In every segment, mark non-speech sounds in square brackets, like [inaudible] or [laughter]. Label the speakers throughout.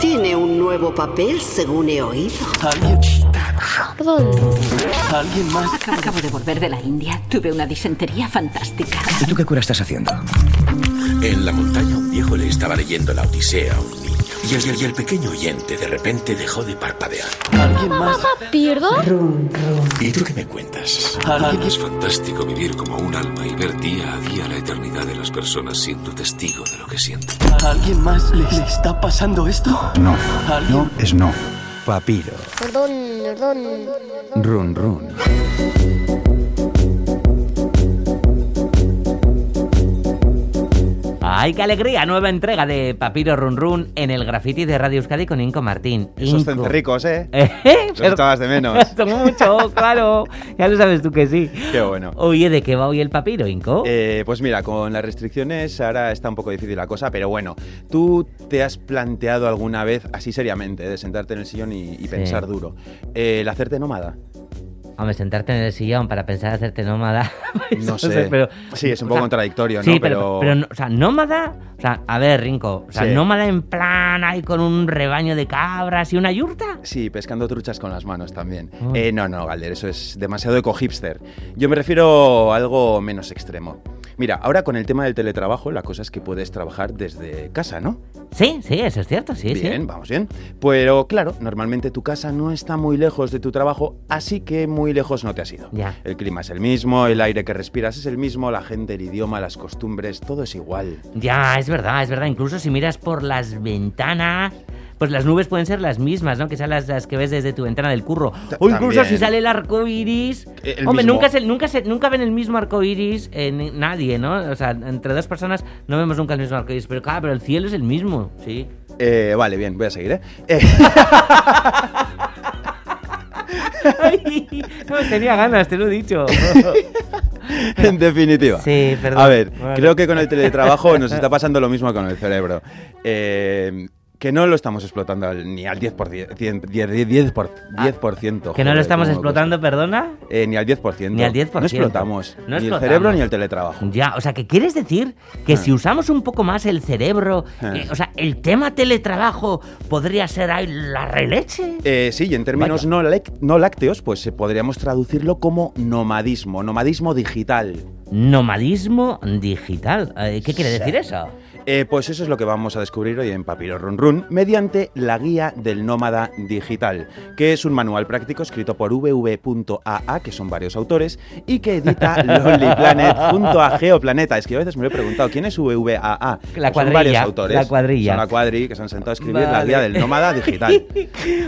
Speaker 1: Tiene un nuevo papel, según he oído.
Speaker 2: Alguien. Alguien más.
Speaker 3: Acabo de volver de la India. Tuve una disentería fantástica.
Speaker 4: ¿Y tú qué cura estás haciendo?
Speaker 5: En la montaña un viejo le estaba leyendo la Odisea a un niño. Y el, y el pequeño oyente de repente dejó de parpadear.
Speaker 2: Alguien más.
Speaker 6: ¿Pierdo?
Speaker 5: ¿Y tú qué me cuentas?
Speaker 7: Es fantástico vivir como un alma y ver día a día la eternidad de las personas siendo testigo de lo que sienten.
Speaker 2: ¿Alguien más le, le está pasando esto?
Speaker 4: No.
Speaker 2: ¿Alguien?
Speaker 4: No es no. Papiro.
Speaker 6: Perdón, perdón.
Speaker 4: Run, run.
Speaker 8: ¡Ay, qué alegría! Nueva entrega de Papiro Run Run en el graffiti de Radio Euskadi con Inco Martín.
Speaker 9: Esos
Speaker 8: Inco.
Speaker 9: centerricos, ¿eh?
Speaker 8: [laughs] ¿Eh?
Speaker 9: Los echabas de
Speaker 8: [laughs]
Speaker 9: menos.
Speaker 8: Son mucho, claro. Ya lo sabes tú que sí.
Speaker 9: Qué bueno.
Speaker 8: Oye, ¿de qué va hoy el papiro, Inco?
Speaker 9: Eh, pues mira, con las restricciones ahora está un poco difícil la cosa, pero bueno, ¿tú te has planteado alguna vez, así seriamente, de sentarte en el sillón y, y pensar duro, eh, el hacerte nómada?
Speaker 8: Hombre, sentarte en el sillón para pensar hacerte nómada. [laughs]
Speaker 9: No
Speaker 8: Eso
Speaker 9: sé.
Speaker 8: pero-
Speaker 9: sí, es un
Speaker 8: o
Speaker 9: poco
Speaker 8: sea,
Speaker 9: contradictorio, ¿no?
Speaker 8: Sí, pero, pero no- o sea, nómada, o sea, a ver, Rinco, o sea,
Speaker 9: Sí.
Speaker 8: nómada en plan ahí con un rebaño de cabras y una yurta.
Speaker 9: Sí, pescando truchas con las manos también.
Speaker 8: Ah.
Speaker 9: Eh, no, no, Galder, eso es demasiado eco-hipster. Yo me refiero a algo menos extremo. Mira, ahora con el tema del teletrabajo, la cosa es que puedes trabajar desde casa, ¿no?
Speaker 8: Sí, sí, eso es cierto, sí,
Speaker 9: bien,
Speaker 8: sí.
Speaker 9: vamos bien. Pero claro, normalmente tu casa no está muy lejos de tu trabajo, así que muy lejos no te has ido.
Speaker 8: Ya.
Speaker 9: El clima es el mismo, el aire que respiras es el mismo, la gente, el idioma, las costumbres, todo es igual.
Speaker 8: Ya, es verdad, es verdad. Incluso si miras por las ventanas, pues las nubes pueden ser las mismas, ¿no? Que sean las, las que ves desde tu ventana del curro.
Speaker 9: Ta-
Speaker 8: O incluso
Speaker 9: también.
Speaker 8: si sale el arco iris.
Speaker 9: Eh, el
Speaker 8: Hombre,
Speaker 9: mismo.
Speaker 8: nunca, se, nunca, se, nunca ven el mismo arco iris en nadie, ¿no? O sea, entre dos personas no vemos nunca el mismo arco iris. Pero claro, pero el cielo es el mismo, sí. [laughs]
Speaker 9: Eh, vale, bien, voy a seguir, ¿eh? Eh,
Speaker 8: Ay, no, tenía ganas, te lo he
Speaker 9: [laughs]
Speaker 8: dicho.
Speaker 9: en definitiva.
Speaker 8: Sí, perdón.
Speaker 9: A ver,
Speaker 8: Vale.
Speaker 9: creo que con el teletrabajo
Speaker 8: [laughs]
Speaker 9: nos está pasando lo mismo con el cerebro. Eh, que no lo estamos explotando al- ni al 10%. 10%, 10%,
Speaker 8: Ah, Que no
Speaker 9: joder,
Speaker 8: lo estamos
Speaker 9: tengo cosas.
Speaker 8: explotando, perdona.
Speaker 9: Eh, ni al 10%.
Speaker 8: Ni al 10%.
Speaker 9: No explotamos.
Speaker 8: No
Speaker 9: ni el
Speaker 8: explotamos.
Speaker 9: cerebro ni el teletrabajo.
Speaker 8: Ya, o sea, que quieres decir que si usamos un poco más el cerebro,
Speaker 9: Ah.
Speaker 8: eh, o sea, el tema teletrabajo podría ser ahí la releche.
Speaker 9: Eh, sí, y en términos
Speaker 8: Vaya.
Speaker 9: no, lec- no lácteos, pues eh, podríamos traducirlo como nomadismo, nomadismo digital.
Speaker 8: Nomadismo digital. Eh, ¿Qué quiere decir eso?
Speaker 9: Eh, pues eso es lo que vamos a descubrir hoy en Papiro Run Run mediante la guía del nómada digital, que es un manual práctico escrito por vv.aa, que son varios autores, y que
Speaker 8: [laughs]
Speaker 9: edita Lonely Planet junto a Geoplaneta. Es que yo a veces me lo he preguntado, ¿quién es vvaa?
Speaker 8: La
Speaker 9: Pues Son varios
Speaker 8: cuadrilla,
Speaker 9: autores.
Speaker 8: la cuadrilla.
Speaker 9: Son la cuadrilla que se han sentado a escribir la
Speaker 8: Vale.
Speaker 9: guía del
Speaker 8: [laughs]
Speaker 9: nómada digital.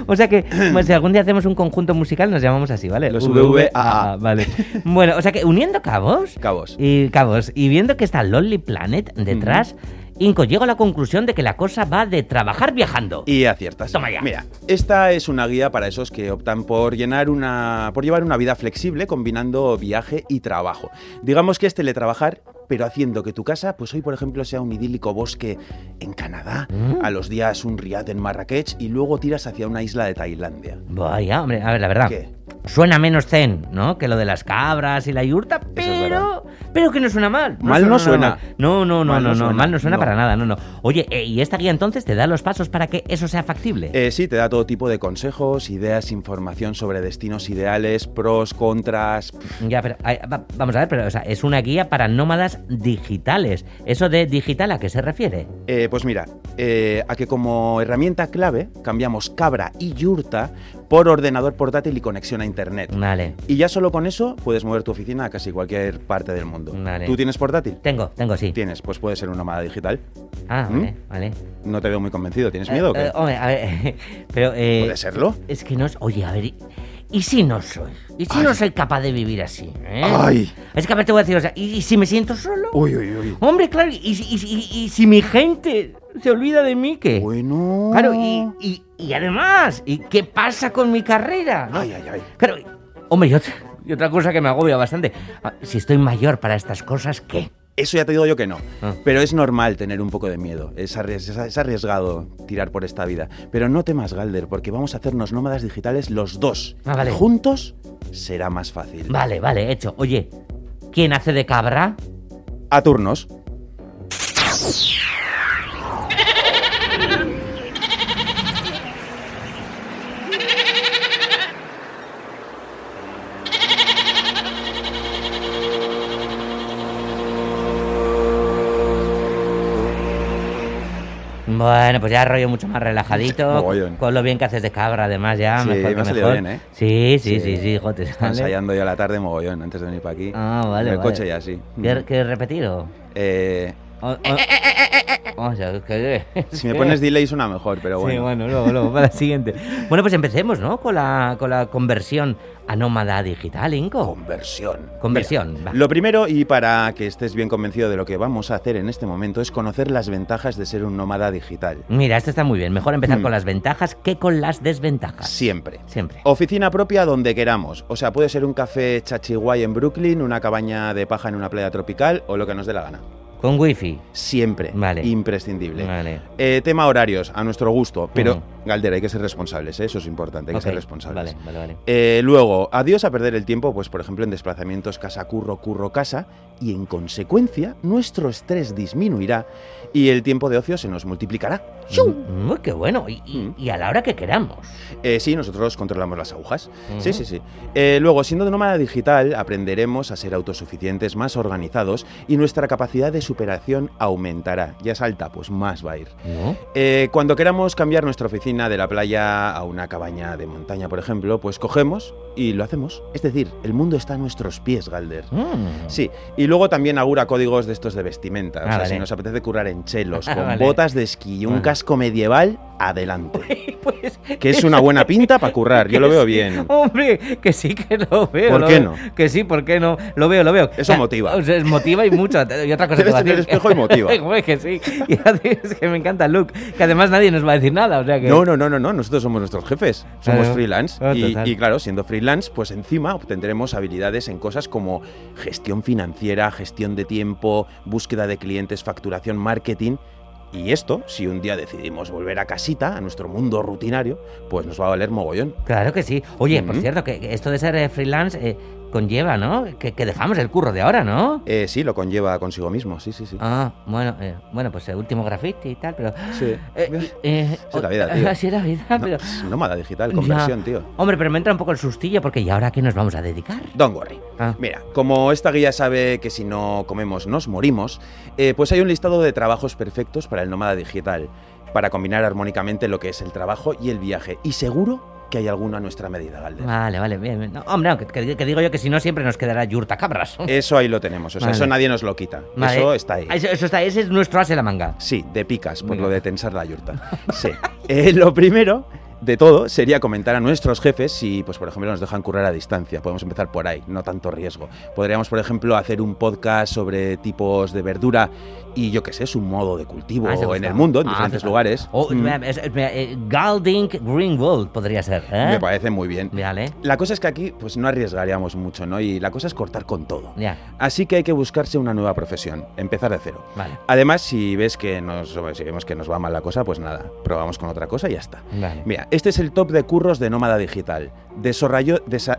Speaker 8: O sea que, pues, si algún día hacemos un conjunto musical, nos llamamos así, ¿vale?
Speaker 9: Los VVAA.
Speaker 8: Vale. Bueno, o sea que uniendo cabos.
Speaker 9: Cabos.
Speaker 8: Y cabos. Y viendo que está Lonely Planet detrás, Inco, llego a la conclusión de que la cosa va de trabajar viajando.
Speaker 9: Y aciertas.
Speaker 8: Toma ya.
Speaker 9: Mira, esta es una guía para esos que optan por llenar una. por llevar una vida flexible combinando viaje y trabajo. Digamos que es teletrabajar, pero haciendo que tu casa, pues hoy, por ejemplo, sea un idílico bosque en Canadá,
Speaker 8: Mm.
Speaker 9: a los días un riad en Marrakech y luego tiras hacia una isla de Tailandia.
Speaker 8: Vaya, hombre, a ver, la verdad.
Speaker 9: ¿Qué?
Speaker 8: Suena menos zen, ¿no? Que lo de las cabras y la yurta, pero. pero que no suena mal.
Speaker 9: Mal no suena.
Speaker 8: mal. No, no, no,
Speaker 9: Mal no
Speaker 8: no, no,
Speaker 9: suena.
Speaker 8: Mal no suena
Speaker 9: No.
Speaker 8: para nada, no, no. Oye, eh, ¿y esta guía entonces te da los pasos para que eso sea factible?
Speaker 9: Eh, sí, te da todo tipo de consejos, ideas, información sobre destinos ideales, pros, contras.
Speaker 8: Ya, pero. ay, va- vamos a ver, pero, o sea, es una guía para nómadas digitales. ¿Eso de digital a qué se refiere?
Speaker 9: Eh, pues mira, eh, a que como herramienta clave cambiamos cabra y yurta por ordenador portátil y conexión a internet.
Speaker 8: Vale.
Speaker 9: Y ya solo con eso puedes mover tu oficina a casi cualquier parte del mundo.
Speaker 8: Vale.
Speaker 9: ¿Tú tienes portátil?
Speaker 8: Tengo, tengo, sí.
Speaker 9: Tienes, pues puedes ser un nómada digital.
Speaker 8: Ah,
Speaker 9: ¿Mm?
Speaker 8: vale, vale.
Speaker 9: No te veo muy convencido, ¿tienes miedo? o
Speaker 8: Eh,
Speaker 9: qué?
Speaker 8: eh, hombre, a ver. [laughs] Pero. eh,
Speaker 9: ¿Puede serlo?
Speaker 8: Es que no. es- Oye, a ver. ¿y- ¿Y si no soy? ¿Y si no soy capaz de vivir así? eh?
Speaker 9: Ay.
Speaker 8: Es que a ver, te voy a decir, o sea, ¿y, y si me siento solo?
Speaker 9: Uy, uy, uy.
Speaker 8: Hombre, claro, ¿y, si- y si- y- y si mi gente se olvida de mí qué?
Speaker 9: Bueno.
Speaker 8: Claro, y, y- y además, ¿y qué pasa con mi carrera? no?
Speaker 9: Ay, ay, ay.
Speaker 8: Claro, y- hombre, y otra, y otra cosa que me agobia bastante. Ah, Si estoy mayor para estas cosas, ¿qué?
Speaker 9: Eso ya te digo yo que no.
Speaker 8: Ah.
Speaker 9: Pero es normal tener un poco de miedo. Es, arries- es a- es arriesgado tirar por esta vida. Pero no temas, Galder, porque vamos a hacernos nómadas digitales los dos.
Speaker 8: Ah, vale.
Speaker 9: Juntos será más fácil.
Speaker 8: Vale, vale, hecho. Oye, ¿quién hace de cabra?
Speaker 9: A turnos.
Speaker 8: Bueno, pues ya rollo mucho más relajadito.
Speaker 9: [laughs] Mogollón.
Speaker 8: Con lo bien que haces de cabra, además, ya.
Speaker 9: Sí,
Speaker 8: mejor
Speaker 9: me
Speaker 8: que
Speaker 9: ha salido
Speaker 8: mejor.
Speaker 9: bien, ¿eh?
Speaker 8: Sí, sí, sí,
Speaker 9: Sí.
Speaker 8: sí, hijo, te
Speaker 9: Está
Speaker 8: sale.
Speaker 9: ensayando ya la tarde mogollón antes de venir para aquí.
Speaker 8: Ah, vale.
Speaker 9: En el
Speaker 8: vale.
Speaker 9: coche ya, sí. Mm.
Speaker 8: ¿Quieres quieres repetir o.?
Speaker 9: Eh,
Speaker 8: o- o- Oh, o sea, que-
Speaker 9: si me pones
Speaker 8: [laughs]
Speaker 9: delay suena mejor, pero bueno.
Speaker 8: Sí, bueno, luego, luego, para la siguiente. Bueno, pues empecemos, ¿no? Con la, con la conversión a nómada digital, Inco.
Speaker 9: Conversión.
Speaker 8: Conversión,
Speaker 9: Mira,
Speaker 8: va.
Speaker 9: Lo primero, y para que estés bien convencido de lo que vamos a hacer en este momento, es conocer las ventajas de ser un nómada digital.
Speaker 8: Mira, esto está muy bien. Mejor empezar
Speaker 9: Hmm.
Speaker 8: con las ventajas que con las desventajas.
Speaker 9: Siempre.
Speaker 8: Siempre.
Speaker 9: Oficina propia donde queramos. O sea, puede ser un café chachiguay en Brooklyn, una cabaña de paja en una playa tropical o lo que nos dé la gana.
Speaker 8: Con wifi.
Speaker 9: Siempre.
Speaker 8: Vale.
Speaker 9: Imprescindible.
Speaker 8: Vale.
Speaker 9: Eh, tema horarios, a nuestro gusto. Pero,
Speaker 8: Ujú.
Speaker 9: Galdera, hay que ser responsables, ¿eh? eso es importante, hay que
Speaker 8: Ok,
Speaker 9: ser responsables.
Speaker 8: Vale, vale, vale.
Speaker 9: Eh, luego, adiós a perder el tiempo, pues por ejemplo en desplazamientos casa-curro, curro-casa, y en consecuencia nuestro estrés disminuirá y el tiempo de ocio se nos multiplicará.
Speaker 8: Mm, uy, qué bueno. Y, y-
Speaker 9: Mm.
Speaker 8: y a la hora que queramos.
Speaker 9: Eh, sí, nosotros controlamos las agujas. Sí,
Speaker 8: Ujú.
Speaker 9: sí, sí. Eh, luego, siendo de nómada digital, aprenderemos a ser autosuficientes, más organizados y nuestra capacidad de superación aumentará. Ya salta, pues más va a ir.
Speaker 8: ¿No?
Speaker 9: Eh, cuando queramos cambiar nuestra oficina de la playa a una cabaña de montaña, por ejemplo, pues cogemos y lo hacemos. Es decir, el mundo está a nuestros pies, Galder.
Speaker 8: Mm.
Speaker 9: Sí, y luego también augura códigos de estos de vestimenta. O
Speaker 8: Ah,
Speaker 9: sea,
Speaker 8: vale.
Speaker 9: si nos apetece currar en chelos,
Speaker 8: [laughs] Ah,
Speaker 9: con
Speaker 8: vale.
Speaker 9: botas de esquí y un
Speaker 8: Vale.
Speaker 9: casco medieval, adelante.
Speaker 8: [laughs] Pues,
Speaker 9: Que es una buena pinta para currar, yo lo
Speaker 8: [laughs] que
Speaker 9: veo
Speaker 8: sí,
Speaker 9: bien.
Speaker 8: Hombre, que sí que lo veo.
Speaker 9: ¿Por
Speaker 8: lo
Speaker 9: qué
Speaker 8: veo.
Speaker 9: no?
Speaker 8: Que sí, ¿por qué no? Lo veo, lo veo.
Speaker 9: Eso motiva.
Speaker 8: o sea, es motiva y
Speaker 9: [laughs]
Speaker 8: mucho. Y otra cosa te
Speaker 9: Te ves
Speaker 8: voy a
Speaker 9: en el
Speaker 8: decir.
Speaker 9: espejo y motiva.
Speaker 8: [laughs] Joder, que sí. Y [laughs] es que me encanta el look. Que además nadie nos va a decir nada. O sea que.
Speaker 9: No, no, no, no, no, nosotros somos nuestros jefes, somos
Speaker 8: Claro.
Speaker 9: freelance.
Speaker 8: Ah,
Speaker 9: y,
Speaker 8: total.
Speaker 9: y claro, siendo freelance, pues encima obtendremos habilidades en cosas como gestión financiera, gestión de tiempo, búsqueda de clientes, facturación, marketing. Y esto, si un día decidimos volver a casita, a nuestro mundo rutinario, pues nos va a valer mogollón.
Speaker 8: Claro que sí. Oye, por
Speaker 9: Mm.
Speaker 8: cierto, que que esto de ser eh, freelance eh, conlleva, ¿no? Que, que dejamos el curro de ahora, ¿no?
Speaker 9: Eh, sí, lo conlleva consigo mismo, sí, sí, sí.
Speaker 8: Ah, bueno, eh, bueno, pues eh, último graffiti y tal, pero.
Speaker 9: [laughs] Sí.
Speaker 8: Eh, eh,
Speaker 9: Así es
Speaker 8: [laughs]
Speaker 9: la vida, tío.
Speaker 8: Así es la vida,
Speaker 9: No,
Speaker 8: pero.
Speaker 9: pss, nómada digital, conversión,
Speaker 8: Ya.
Speaker 9: tío.
Speaker 8: Hombre, pero me entra un poco el sustillo porque ¿y ahora a qué nos vamos a dedicar?
Speaker 9: Don't worry.
Speaker 8: Ah.
Speaker 9: Mira, como esta guía sabe que si no comemos nos morimos, eh, pues hay un listado de trabajos perfectos para el nómada digital, para combinar armónicamente lo que es el trabajo y el viaje. Y seguro que hay alguno a nuestra medida, Galder.
Speaker 8: Vale, vale, bien. bien. No, hombre, no, que, que- que digo yo que si no siempre nos quedará yurta cabras.
Speaker 9: Eso ahí lo tenemos, o sea,
Speaker 8: Vale.
Speaker 9: eso nadie nos lo quita.
Speaker 8: [laughs] Vale.
Speaker 9: Eh,
Speaker 8: Ah,
Speaker 9: Eso está ahí.
Speaker 8: Eso, eso está, ese es nuestro as en la manga.
Speaker 9: Sí, de picas, por
Speaker 8: Venga.
Speaker 9: lo de tensar la yurta. Sí. Eh, lo primero de todo sería comentar a nuestros jefes si, pues, por ejemplo, nos dejan currar a distancia. Podemos empezar por ahí, no tanto riesgo. Podríamos, por ejemplo, hacer un podcast sobre tipos de verdura y yo qué sé, su modo de cultivo
Speaker 8: Ah, eso
Speaker 9: en
Speaker 8: está.
Speaker 9: el mundo, en
Speaker 8: Ah,
Speaker 9: diferentes
Speaker 8: eso está.
Speaker 9: lugares.
Speaker 8: O,
Speaker 9: Mm,
Speaker 8: espera, es- espera, eh, Galding Greenwald podría ser, ¿eh?
Speaker 9: Me parece muy bien.
Speaker 8: Vale,
Speaker 9: La cosa es que aquí, pues, no arriesgaríamos mucho, ¿no? Y la cosa es cortar con todo.
Speaker 8: ya,
Speaker 9: Así que hay que buscarse una nueva profesión, empezar de cero.
Speaker 8: vale,
Speaker 9: Además, si ves que nos, si vemos que nos va mal la cosa, pues nada, probamos con otra cosa y ya está.
Speaker 8: vale.
Speaker 9: Mira, este es el top de curros de Nómada Digital. Desarrollo... desa-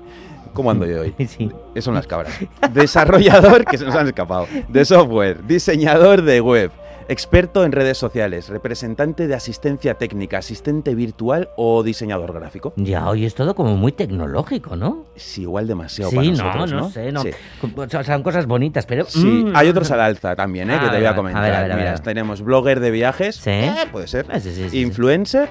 Speaker 9: [laughs] ¿Cómo ando yo hoy?
Speaker 8: [laughs] Sí.
Speaker 9: Eh, Son las cabras. Desarrollador, que se nos han escapado, de software, diseñador de web, experto en redes sociales, representante de asistencia técnica, asistente virtual o diseñador gráfico.
Speaker 8: Ya, hoy es todo como muy tecnológico, ¿no?
Speaker 9: Sí, igual demasiado para
Speaker 8: Sí,
Speaker 9: nosotros,
Speaker 8: no,
Speaker 9: ¿no,
Speaker 8: no sé, no.
Speaker 9: Sí.
Speaker 8: O sea, Son cosas bonitas, pero.
Speaker 9: Sí,
Speaker 8: Mm.
Speaker 9: hay otros al alza también, ¿eh?
Speaker 8: A
Speaker 9: que te
Speaker 8: ver,
Speaker 9: voy
Speaker 8: a
Speaker 9: a
Speaker 8: ver,
Speaker 9: comentar.
Speaker 8: a ver, a ver, a
Speaker 9: Mira,
Speaker 8: ver.
Speaker 9: tenemos blogger de viajes.
Speaker 8: Sí.
Speaker 9: Eh, puede ser.
Speaker 8: Ah, sí, sí, sí, sí.
Speaker 9: Influencer.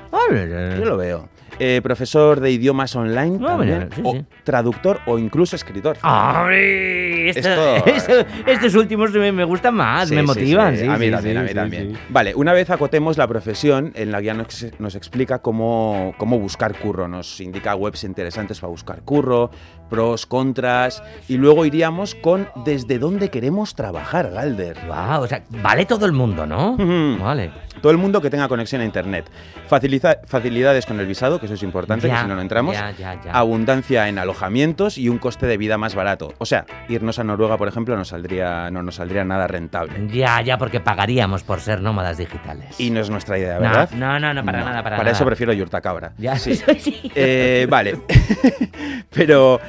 Speaker 9: Yo lo veo. Eh, profesor de idiomas online
Speaker 8: Ah, mira,
Speaker 9: también,
Speaker 8: sí,
Speaker 9: o
Speaker 8: sí. Ah,
Speaker 9: traductor o incluso escritor.
Speaker 8: ¡Ay! Esto-
Speaker 9: Esto-
Speaker 8: [laughs] esto- estos últimos me, me gustan más,
Speaker 9: Sí,
Speaker 8: ah, me
Speaker 9: sí,
Speaker 8: motivan.
Speaker 9: sí.
Speaker 8: sí,
Speaker 9: a mí
Speaker 8: sí,
Speaker 9: también,
Speaker 8: sí,
Speaker 9: a mí
Speaker 8: sí,
Speaker 9: también.
Speaker 8: sí.
Speaker 9: Vale, una vez acotemos la profesión, en la guía nos, nos explica cómo, cómo buscar curro. Nos indica webs interesantes para buscar curro, pros, contras. Y luego iríamos con desde dónqueremos trabajar, Galder.
Speaker 8: Guau, o sea, vale todo el mundo, ¿no?
Speaker 9: Ujú.
Speaker 8: Vale.
Speaker 9: Todo el mundo que tenga conexión a internet. Faciliza- facilidades con el visado, que eso es importante,
Speaker 8: Ya,
Speaker 9: que si no, no entramos.
Speaker 8: ya, ya, ya.
Speaker 9: Abundancia en alojamientos y un coste de vida más barato. O sea, irnos a Noruega, por ejemplo, nos saldría, no nos saldría nada rentable.
Speaker 8: Ya, ya, porque pagaríamos por ser nómadas digitales.
Speaker 9: Y no es nuestra idea,
Speaker 8: No,
Speaker 9: ¿verdad?
Speaker 8: no, no, no, para nada, para
Speaker 9: Para eso
Speaker 8: nada. [laughs]
Speaker 9: prefiero Yurta Cabra. [laughs]
Speaker 8: Ya,
Speaker 9: Sí.
Speaker 8: sí.
Speaker 9: Eh, vale. Pero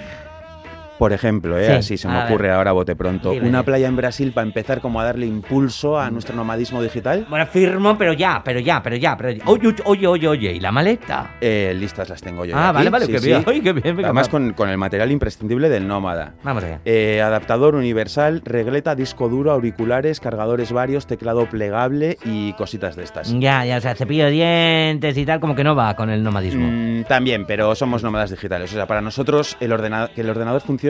Speaker 9: Por ejemplo, ¿eh?
Speaker 8: Sí,
Speaker 9: así se me
Speaker 8: a ver.
Speaker 9: ocurre ahora bote pronto.
Speaker 8: Dime. Mm.
Speaker 9: Una playa en Brasil para empezar como a darle impulso a nuestro nomadismo digital.
Speaker 8: Bueno, firmo, pero ya, pero ya, pero ya, pero ya. Oye, oye, oye, oye, oye, ¿y la maleta?
Speaker 9: Eh, listas las tengo yo.
Speaker 8: Ah,
Speaker 9: aquí.
Speaker 8: vale, vale, qué bien. [laughs] Ay, qué bien, venga,
Speaker 9: Además
Speaker 8: va.
Speaker 9: con, con el material imprescindible del nómada.
Speaker 8: Vamos allá.
Speaker 9: Eh, adaptador universal, regleta, disco duro, auriculares, cargadores varios, teclado plegable y cositas de estas.
Speaker 8: Ya, ya, o sea, cepillo de dientes y tal, como que no va con el nomadismo.
Speaker 9: Mm, también, pero somos nómadas digitales. O sea, para nosotros el ordena- que el ordenador funcione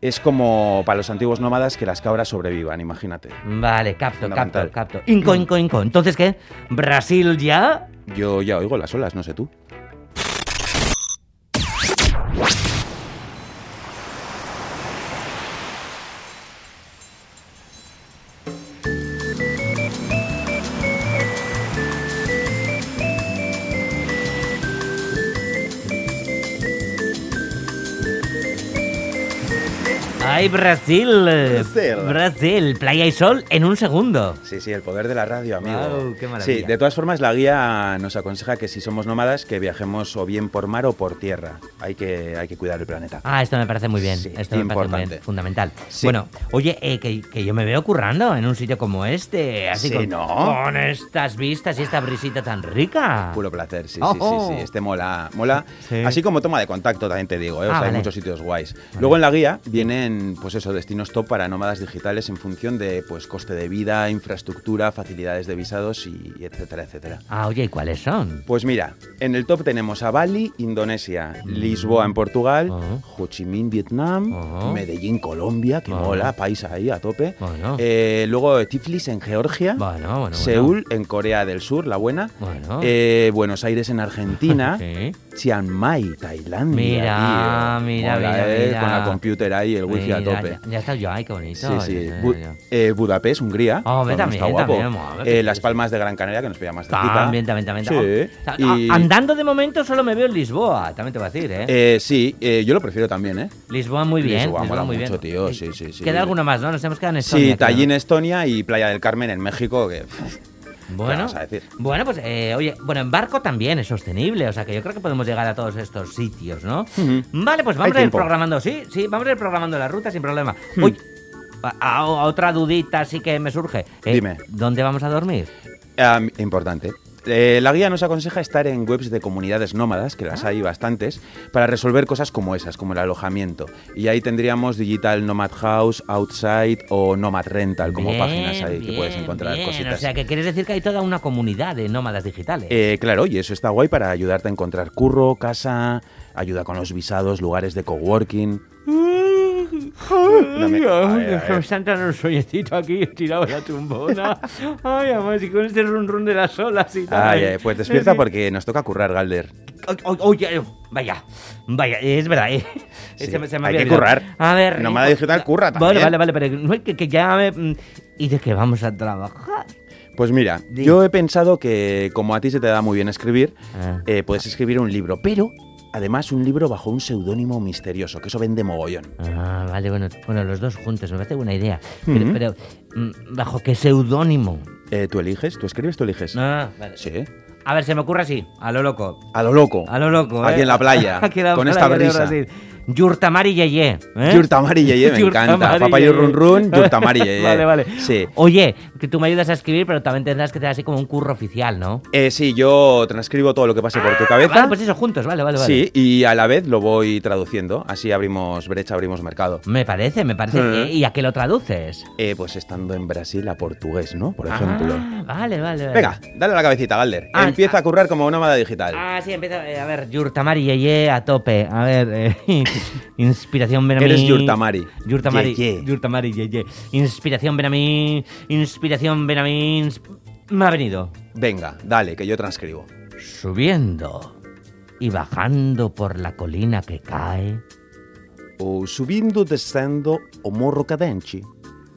Speaker 9: es como para los antiguos nómadas que las cabras sobrevivan, imagínate.
Speaker 8: Vale, capto, capto,
Speaker 9: Fundamental.
Speaker 8: capto. Inco, inco, inco. Entonces, ¿qué? ¿Brasil ya?
Speaker 9: Yo ya oigo las olas, no sé tú.
Speaker 8: ¡Ay, Brasil!
Speaker 9: Brasil.
Speaker 8: Brasil, playa y sol en un segundo.
Speaker 9: Sí, sí, el poder de la radio, amigo.
Speaker 8: Guau, qué maravilla.
Speaker 9: Sí, de todas formas, la guía nos aconseja que si somos nómadas, que viajemos o bien por mar o por tierra. Hay que, hay que cuidar el planeta.
Speaker 8: Ah, esto me parece muy bien.
Speaker 9: Sí,
Speaker 8: esto me parece muy
Speaker 9: importante.
Speaker 8: bien, fundamental.
Speaker 9: Sí.
Speaker 8: Bueno, oye, eh, que, que yo me veo currando en un sitio como este, así
Speaker 9: Sí,
Speaker 8: con,
Speaker 9: ¿no?
Speaker 8: con estas vistas y esta brisita tan rica.
Speaker 9: Puro placer, sí,
Speaker 8: Ojo.
Speaker 9: sí, sí, sí. Este mola, mola.
Speaker 8: Oh. Sí.
Speaker 9: Así como toma de contacto, también te digo, ¿eh? O
Speaker 8: Ah,
Speaker 9: sea,
Speaker 8: vale.
Speaker 9: hay muchos sitios guays. Luego en la guía vienen, pues eso, destinos top para nómadas digitales en función de, pues, coste de vida, infraestructura, facilidades de visados y y etcétera, etcétera.
Speaker 8: Ah, oye, ¿y cuáles son?
Speaker 9: Pues mira, en el top tenemos a Bali, Indonesia, Lisboa en Portugal,
Speaker 8: Mm. Ajá.
Speaker 9: Ho Chi Minh, Vietnam,
Speaker 8: Ajá.
Speaker 9: Medellín, Colombia, que
Speaker 8: Ajá.
Speaker 9: mola, país ahí a tope.
Speaker 8: Bueno.
Speaker 9: Eh, luego Tiflis en Georgia,
Speaker 8: Bueno, bueno, bueno.
Speaker 9: Seúl en Corea del Sur, la buena.
Speaker 8: Bueno.
Speaker 9: Eh, Buenos Aires en
Speaker 8: [laughs]
Speaker 9: Argentina,
Speaker 8: Sí.
Speaker 9: Chiang Mai, Tailandia.
Speaker 8: Mira,
Speaker 9: tío.
Speaker 8: mira,
Speaker 9: Mola,
Speaker 8: mira,
Speaker 9: eh,
Speaker 8: mira.
Speaker 9: Con la computer ahí, el wifi a
Speaker 8: Mira,
Speaker 9: tope.
Speaker 8: Ya, ya está yo, ay, qué bonito.
Speaker 9: Sí,
Speaker 8: ya
Speaker 9: sí.
Speaker 8: está
Speaker 9: Bu-
Speaker 8: yo.
Speaker 9: eh, Budapest, Hungría.
Speaker 8: Hombre,
Speaker 9: también
Speaker 8: también,
Speaker 9: está guapo.
Speaker 8: también, mola, qué
Speaker 9: Eh, Las
Speaker 8: chulo.
Speaker 9: Palmas de Gran Canaria, que nos pilla más cerquita.
Speaker 8: También, también, también.
Speaker 9: Sí.
Speaker 8: Ah, ah,
Speaker 9: Y-
Speaker 8: Andando de momento solo me veo en Lisboa, también te voy a decir, ¿eh?
Speaker 9: Eh, sí, eh, yo lo prefiero también, ¿eh?
Speaker 8: Lisboa muy bien.
Speaker 9: Lisboa mola
Speaker 8: muy
Speaker 9: mucho,
Speaker 8: bien.
Speaker 9: tío,
Speaker 8: Eh,
Speaker 9: sí, sí, sí.
Speaker 8: Queda alguno más, ¿no? Nos hemos quedado en Estonia.
Speaker 9: Sí,
Speaker 8: creo, ¿no?
Speaker 9: Tallín, Estonia y Playa del Carmen en México, que pff, ¿Qué
Speaker 8: Bueno,
Speaker 9: vas a decir?
Speaker 8: bueno, pues eh, oye, bueno, en barco también es sostenible, o sea que yo creo que podemos llegar a todos estos sitios, ¿no?
Speaker 9: Ujú.
Speaker 8: Vale, pues vamos
Speaker 9: Hay
Speaker 8: a ir
Speaker 9: tiempo. Hmm.
Speaker 8: programando, sí, sí, vamos a ir programando la ruta sin problema. Oye, a, a- a otra dudita sí que me surge. Eh,
Speaker 9: Dime.
Speaker 8: ¿Dónde vamos a dormir?
Speaker 9: ah, importante. Eh, la guía nos aconseja estar en webs de comunidades nómadas, que
Speaker 8: Ah.
Speaker 9: las hay bastantes, para resolver cosas como esas, como el alojamiento. Y ahí tendríamos Digital Nomad House, Outside o Nomad Rental, como
Speaker 8: Bien,
Speaker 9: páginas ahí que puedes
Speaker 8: bien,
Speaker 9: encontrar
Speaker 8: bien.
Speaker 9: cositas.
Speaker 8: O sea que quieres decir que hay toda una comunidad de nómadas digitales.
Speaker 9: Eh, claro, y eso está guay para ayudarte a encontrar curro, casa, ayuda con los visados, lugares de coworking. Dame-
Speaker 8: Ay,
Speaker 9: a ver,
Speaker 8: Dios,
Speaker 9: a ver.
Speaker 8: me están dando un sueñecito aquí, tirado a la tumbona. Ay, además, y con este run run de las olas y tal.
Speaker 9: Ay, ay, pues despierta porque nos toca currar, Galder.
Speaker 8: O- o- Oye, eh, vaya, vaya, es verdad. eh.
Speaker 9: Sí,
Speaker 8: Se me- se me
Speaker 9: hay
Speaker 8: había
Speaker 9: que
Speaker 8: olvidado.
Speaker 9: currar.
Speaker 8: A ver.
Speaker 9: Nómada
Speaker 8: hijo,
Speaker 9: digital curra
Speaker 8: Vale,
Speaker 9: también.
Speaker 8: vale, vale, pero no es que, que ya me- mm, ¿Y de qué vamos a trabajar?
Speaker 9: Pues mira, yo he pensado que como a ti se te da muy bien escribir,
Speaker 8: Ah.
Speaker 9: eh, puedes escribir un libro, pero además un libro bajo un seudónimo misterioso, que eso vende mogollón.
Speaker 8: Ah, vale, bueno, bueno, los dos juntos, me parece buena idea. Pero,
Speaker 9: Ujú.
Speaker 8: pero, mm, ¿bajo qué seudónimo?
Speaker 9: Eh, ¿Tú eliges? ¿Tú escribes? ¿Tú eliges?
Speaker 8: Ah, vale.
Speaker 9: Sí.
Speaker 8: A ver, se me ocurre así, a lo loco.
Speaker 9: A lo loco.
Speaker 8: A lo loco, ¿eh?
Speaker 9: Aquí en la playa,
Speaker 8: [laughs] Aquí en la
Speaker 9: con
Speaker 8: playa
Speaker 9: esta
Speaker 8: de
Speaker 9: brisa.
Speaker 8: Brasil. Yurtamari Yeye. ¿eh?
Speaker 9: Yurtamari Yeye,
Speaker 8: [laughs]
Speaker 9: me
Speaker 8: Yurtamari
Speaker 9: encanta. Papayo
Speaker 8: Yeye.
Speaker 9: Run
Speaker 8: [laughs]
Speaker 9: Run, Yurtamari Yeye.
Speaker 8: Vale, vale.
Speaker 9: Sí.
Speaker 8: Oye, que tú me ayudas a escribir, pero también tendrás que tener así como un curro oficial, ¿no?
Speaker 9: Eh, sí, yo transcribo todo lo que pase por tu cabeza.
Speaker 8: Vale, pues eso, juntos, vale, vale, vale.
Speaker 9: Sí, y a la vez lo voy traduciendo. Así abrimos brecha, abrimos mercado.
Speaker 8: Me parece, me parece.
Speaker 9: Mm.
Speaker 8: Eh, ¿Y a qué lo traduces?
Speaker 9: Eh, pues estando en Brasil a portugués, ¿no? Por ejemplo.
Speaker 8: Ah, vale, vale, vale.
Speaker 9: Venga, dale a la cabecita, Galder.
Speaker 8: Ah,
Speaker 9: Empieza a currar como nómada digital.
Speaker 8: Ah, sí, empieza. eh, a ver, Yurtamari Yeye a tope. A ver, eh, [laughs] inspiración ven a mí.
Speaker 9: Eres Yurtamari.
Speaker 8: Yurtamari.
Speaker 9: Yeye.
Speaker 8: Yurtamari Yeye. Inspiración ven a mí. Inspiración ven a mí. ins- Me ha venido.
Speaker 9: Venga, dale, que yo transcribo.
Speaker 8: Subiendo y bajando por la colina que cae,
Speaker 9: O subindo, descendo, o morro cadente.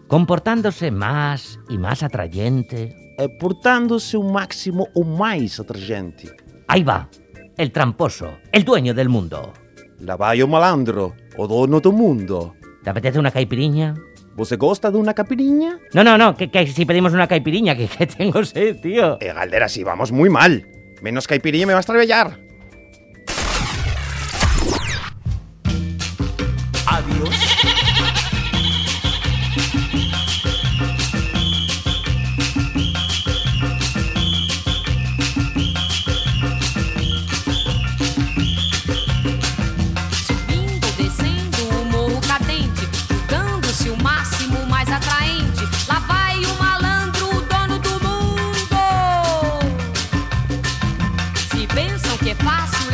Speaker 8: comportándose más y más atrayente.
Speaker 9: eh, Portándose o máximo o mais atragente.
Speaker 8: Ahí va, el tramposo, el dueño del mundo.
Speaker 9: Lá vai o malandro, o dono do mundo.
Speaker 8: ¿Te apetece una caipiriña?
Speaker 9: Você gosta de uma capirinha?
Speaker 8: No, no, no, que, que si pedimos una caipiriña, que, que tengo sed, tío.
Speaker 9: Eh, Galder, si vamos muy mal. Menos caipirinha me vas a atropellar.
Speaker 10: Adiós,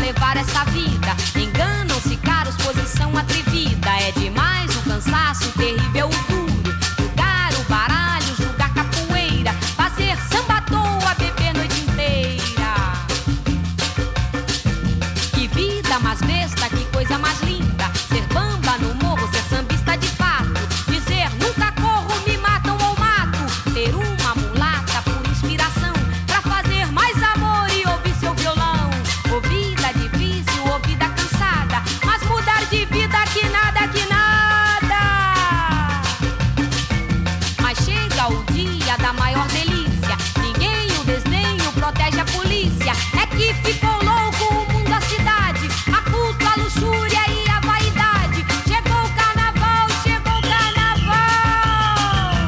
Speaker 10: é nessa vida. Enganam-se caros, posição atrevida. É demais o cansaço, terrível o duro. Jogar o baralho, jogar capoeira. Fazer samba à toa, beber noite inteira. Que vida mais besta, que coisa mais linda. Ser bamba no morro, ser sambista de fato. Dizer nunca corro, me matam ou mato. Ter uma mulata por inspiração. Pra fazer mais amor e ouvir seu violão. Ou vida difícil, ou vida cansada. Mas mudar de vida que nada, que nada. Mas chega o dia da maior delícia. Ninguém o desdenho protege a polícia. É que ficou louco o mundo, a cidade. A culpa, a luxúria e a vaidade. Chegou o carnaval, chegou o carnaval.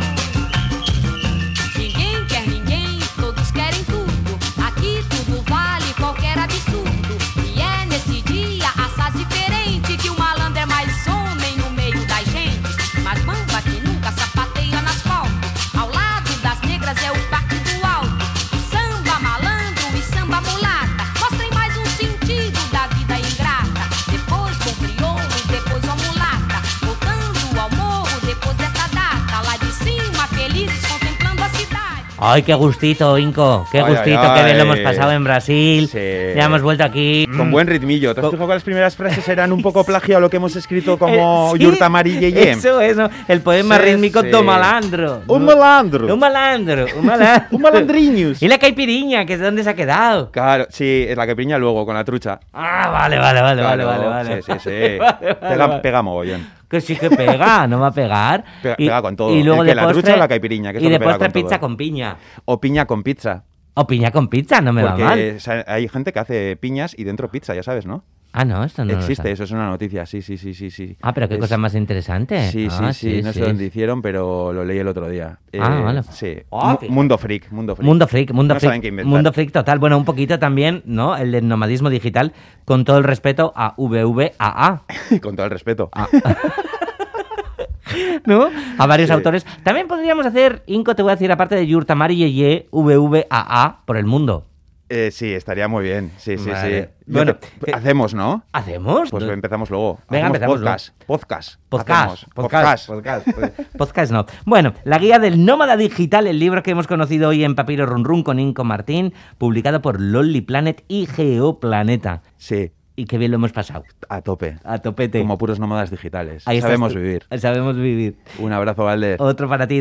Speaker 10: Ninguém quer ninguém, todos querem tudo. Aqui tudo vale qualquer absurdo. E é nesse dia assaz diferente que o malandro é mais homem no meio das gentes. Mas bamba que nunca sapateia no asfalto. Ao lado das negras é o parque do alto. Samba malandro e samba mulata. Mostrem mais um sentido da vida ingrata. Depois com crioulo, depois com a mulata. Voltando ao morro depois dessa data. Lá de cima, felizes contemplando a cidade.
Speaker 8: Ay, qué gustito, Inco. Qué
Speaker 9: Ay,
Speaker 8: gustito,
Speaker 9: ay,
Speaker 8: qué bien lo
Speaker 9: ay.
Speaker 8: hemos pasado en Brasil.
Speaker 9: Sí.
Speaker 8: Ya hemos vuelto aquí.
Speaker 9: Mm.
Speaker 8: Mm.
Speaker 9: Con buen ritmillo. ¿Te has
Speaker 8: Con-
Speaker 9: fijado que las primeras frases eran un poco plagio a lo que hemos escrito como
Speaker 8: Eh, sí,
Speaker 9: Yurta Amarilla y Yem?
Speaker 8: Eso, eso. El poema
Speaker 9: Sí,
Speaker 8: rítmico
Speaker 9: sí.
Speaker 8: do malandro.
Speaker 9: Un malandro.
Speaker 8: Un malandro. Un malandro.
Speaker 9: [laughs] Un malandriños.
Speaker 8: Y la caipiriña, que es donde se ha quedado.
Speaker 9: Claro, sí, es la que piña luego con la trucha.
Speaker 8: Ah, vale, vale, vale,
Speaker 9: Claro,
Speaker 8: vale, vale, vale.
Speaker 9: Sí, sí, sí.
Speaker 8: [laughs] Vale,
Speaker 9: [laughs]
Speaker 8: vale,
Speaker 9: pega,
Speaker 8: vale.
Speaker 9: pega mogollón.
Speaker 8: Que sí que pega, no va a pegar.
Speaker 9: Pega- pega con todo.
Speaker 8: Y luego
Speaker 9: Es
Speaker 8: de
Speaker 9: que la
Speaker 8: postre-
Speaker 9: trucha o la caipiriña, que eso
Speaker 8: Y
Speaker 9: no
Speaker 8: de
Speaker 9: pega
Speaker 8: postre
Speaker 9: con todo.
Speaker 8: pizza con piña.
Speaker 9: O piña con pizza.
Speaker 8: O piña con pizza, no me
Speaker 9: porque
Speaker 8: va mal.
Speaker 9: o sea, hay gente que hace piñas y dentro pizza, ya sabes, ¿no?
Speaker 8: Ah, no, esto no lo
Speaker 9: Existe,
Speaker 8: sabía.
Speaker 9: eso es una noticia, sí, sí, sí, sí, sí.
Speaker 8: Ah, pero qué
Speaker 9: Es-
Speaker 8: cosa más interesante.
Speaker 9: Sí, sí,
Speaker 8: Ah,
Speaker 9: sí, no sé dónde hicieron, pero lo leí el otro día. Eh,
Speaker 8: Ah, vale.
Speaker 9: Sí.
Speaker 8: Ah,
Speaker 9: Mu-
Speaker 8: fíjate.
Speaker 9: mundo freak, mundo freak.
Speaker 8: Mundo freak, mundo
Speaker 9: No
Speaker 8: freak.
Speaker 9: saben qué inventar.
Speaker 8: mundo freak total. Bueno, un poquito también, ¿no? El del nomadismo digital, con todo el respeto a VVAA,
Speaker 9: [laughs] Con todo el respeto.
Speaker 8: [laughs] Ah. ¿no? A varios
Speaker 9: Sí.
Speaker 8: autores. También podríamos hacer, Inco, te voy a decir, aparte de Yurta Mari Yeye, VVAA por el mundo.
Speaker 9: Eh, sí, estaría muy bien. Sí, sí,
Speaker 8: Vale.
Speaker 9: sí. Yo
Speaker 8: Bueno,
Speaker 9: te-
Speaker 8: eh,
Speaker 9: hacemos, ¿no?
Speaker 8: ¿Hacemos?
Speaker 9: Pues empezamos luego.
Speaker 8: Venga,
Speaker 9: Hacemos
Speaker 8: empezamos
Speaker 9: podcast, podcast.
Speaker 8: Podcast,
Speaker 9: Hacemos.
Speaker 8: podcast, pues,
Speaker 9: Podcast.
Speaker 8: Podcast no. Bueno, la guía del nómada digital, el libro que hemos conocido hoy en Papiro Run Run con Inco Martín, publicado por Lonely Planet y Geoplaneta.
Speaker 9: Sí,
Speaker 8: Y qué bien lo hemos pasado.
Speaker 9: a tope.
Speaker 8: A topete.
Speaker 9: Como puros nómadas digitales.
Speaker 8: Ahí estás
Speaker 9: Sabemos
Speaker 8: tú.
Speaker 9: vivir.
Speaker 8: Sabemos vivir.
Speaker 9: Un abrazo, Valde.
Speaker 8: Otro para ti.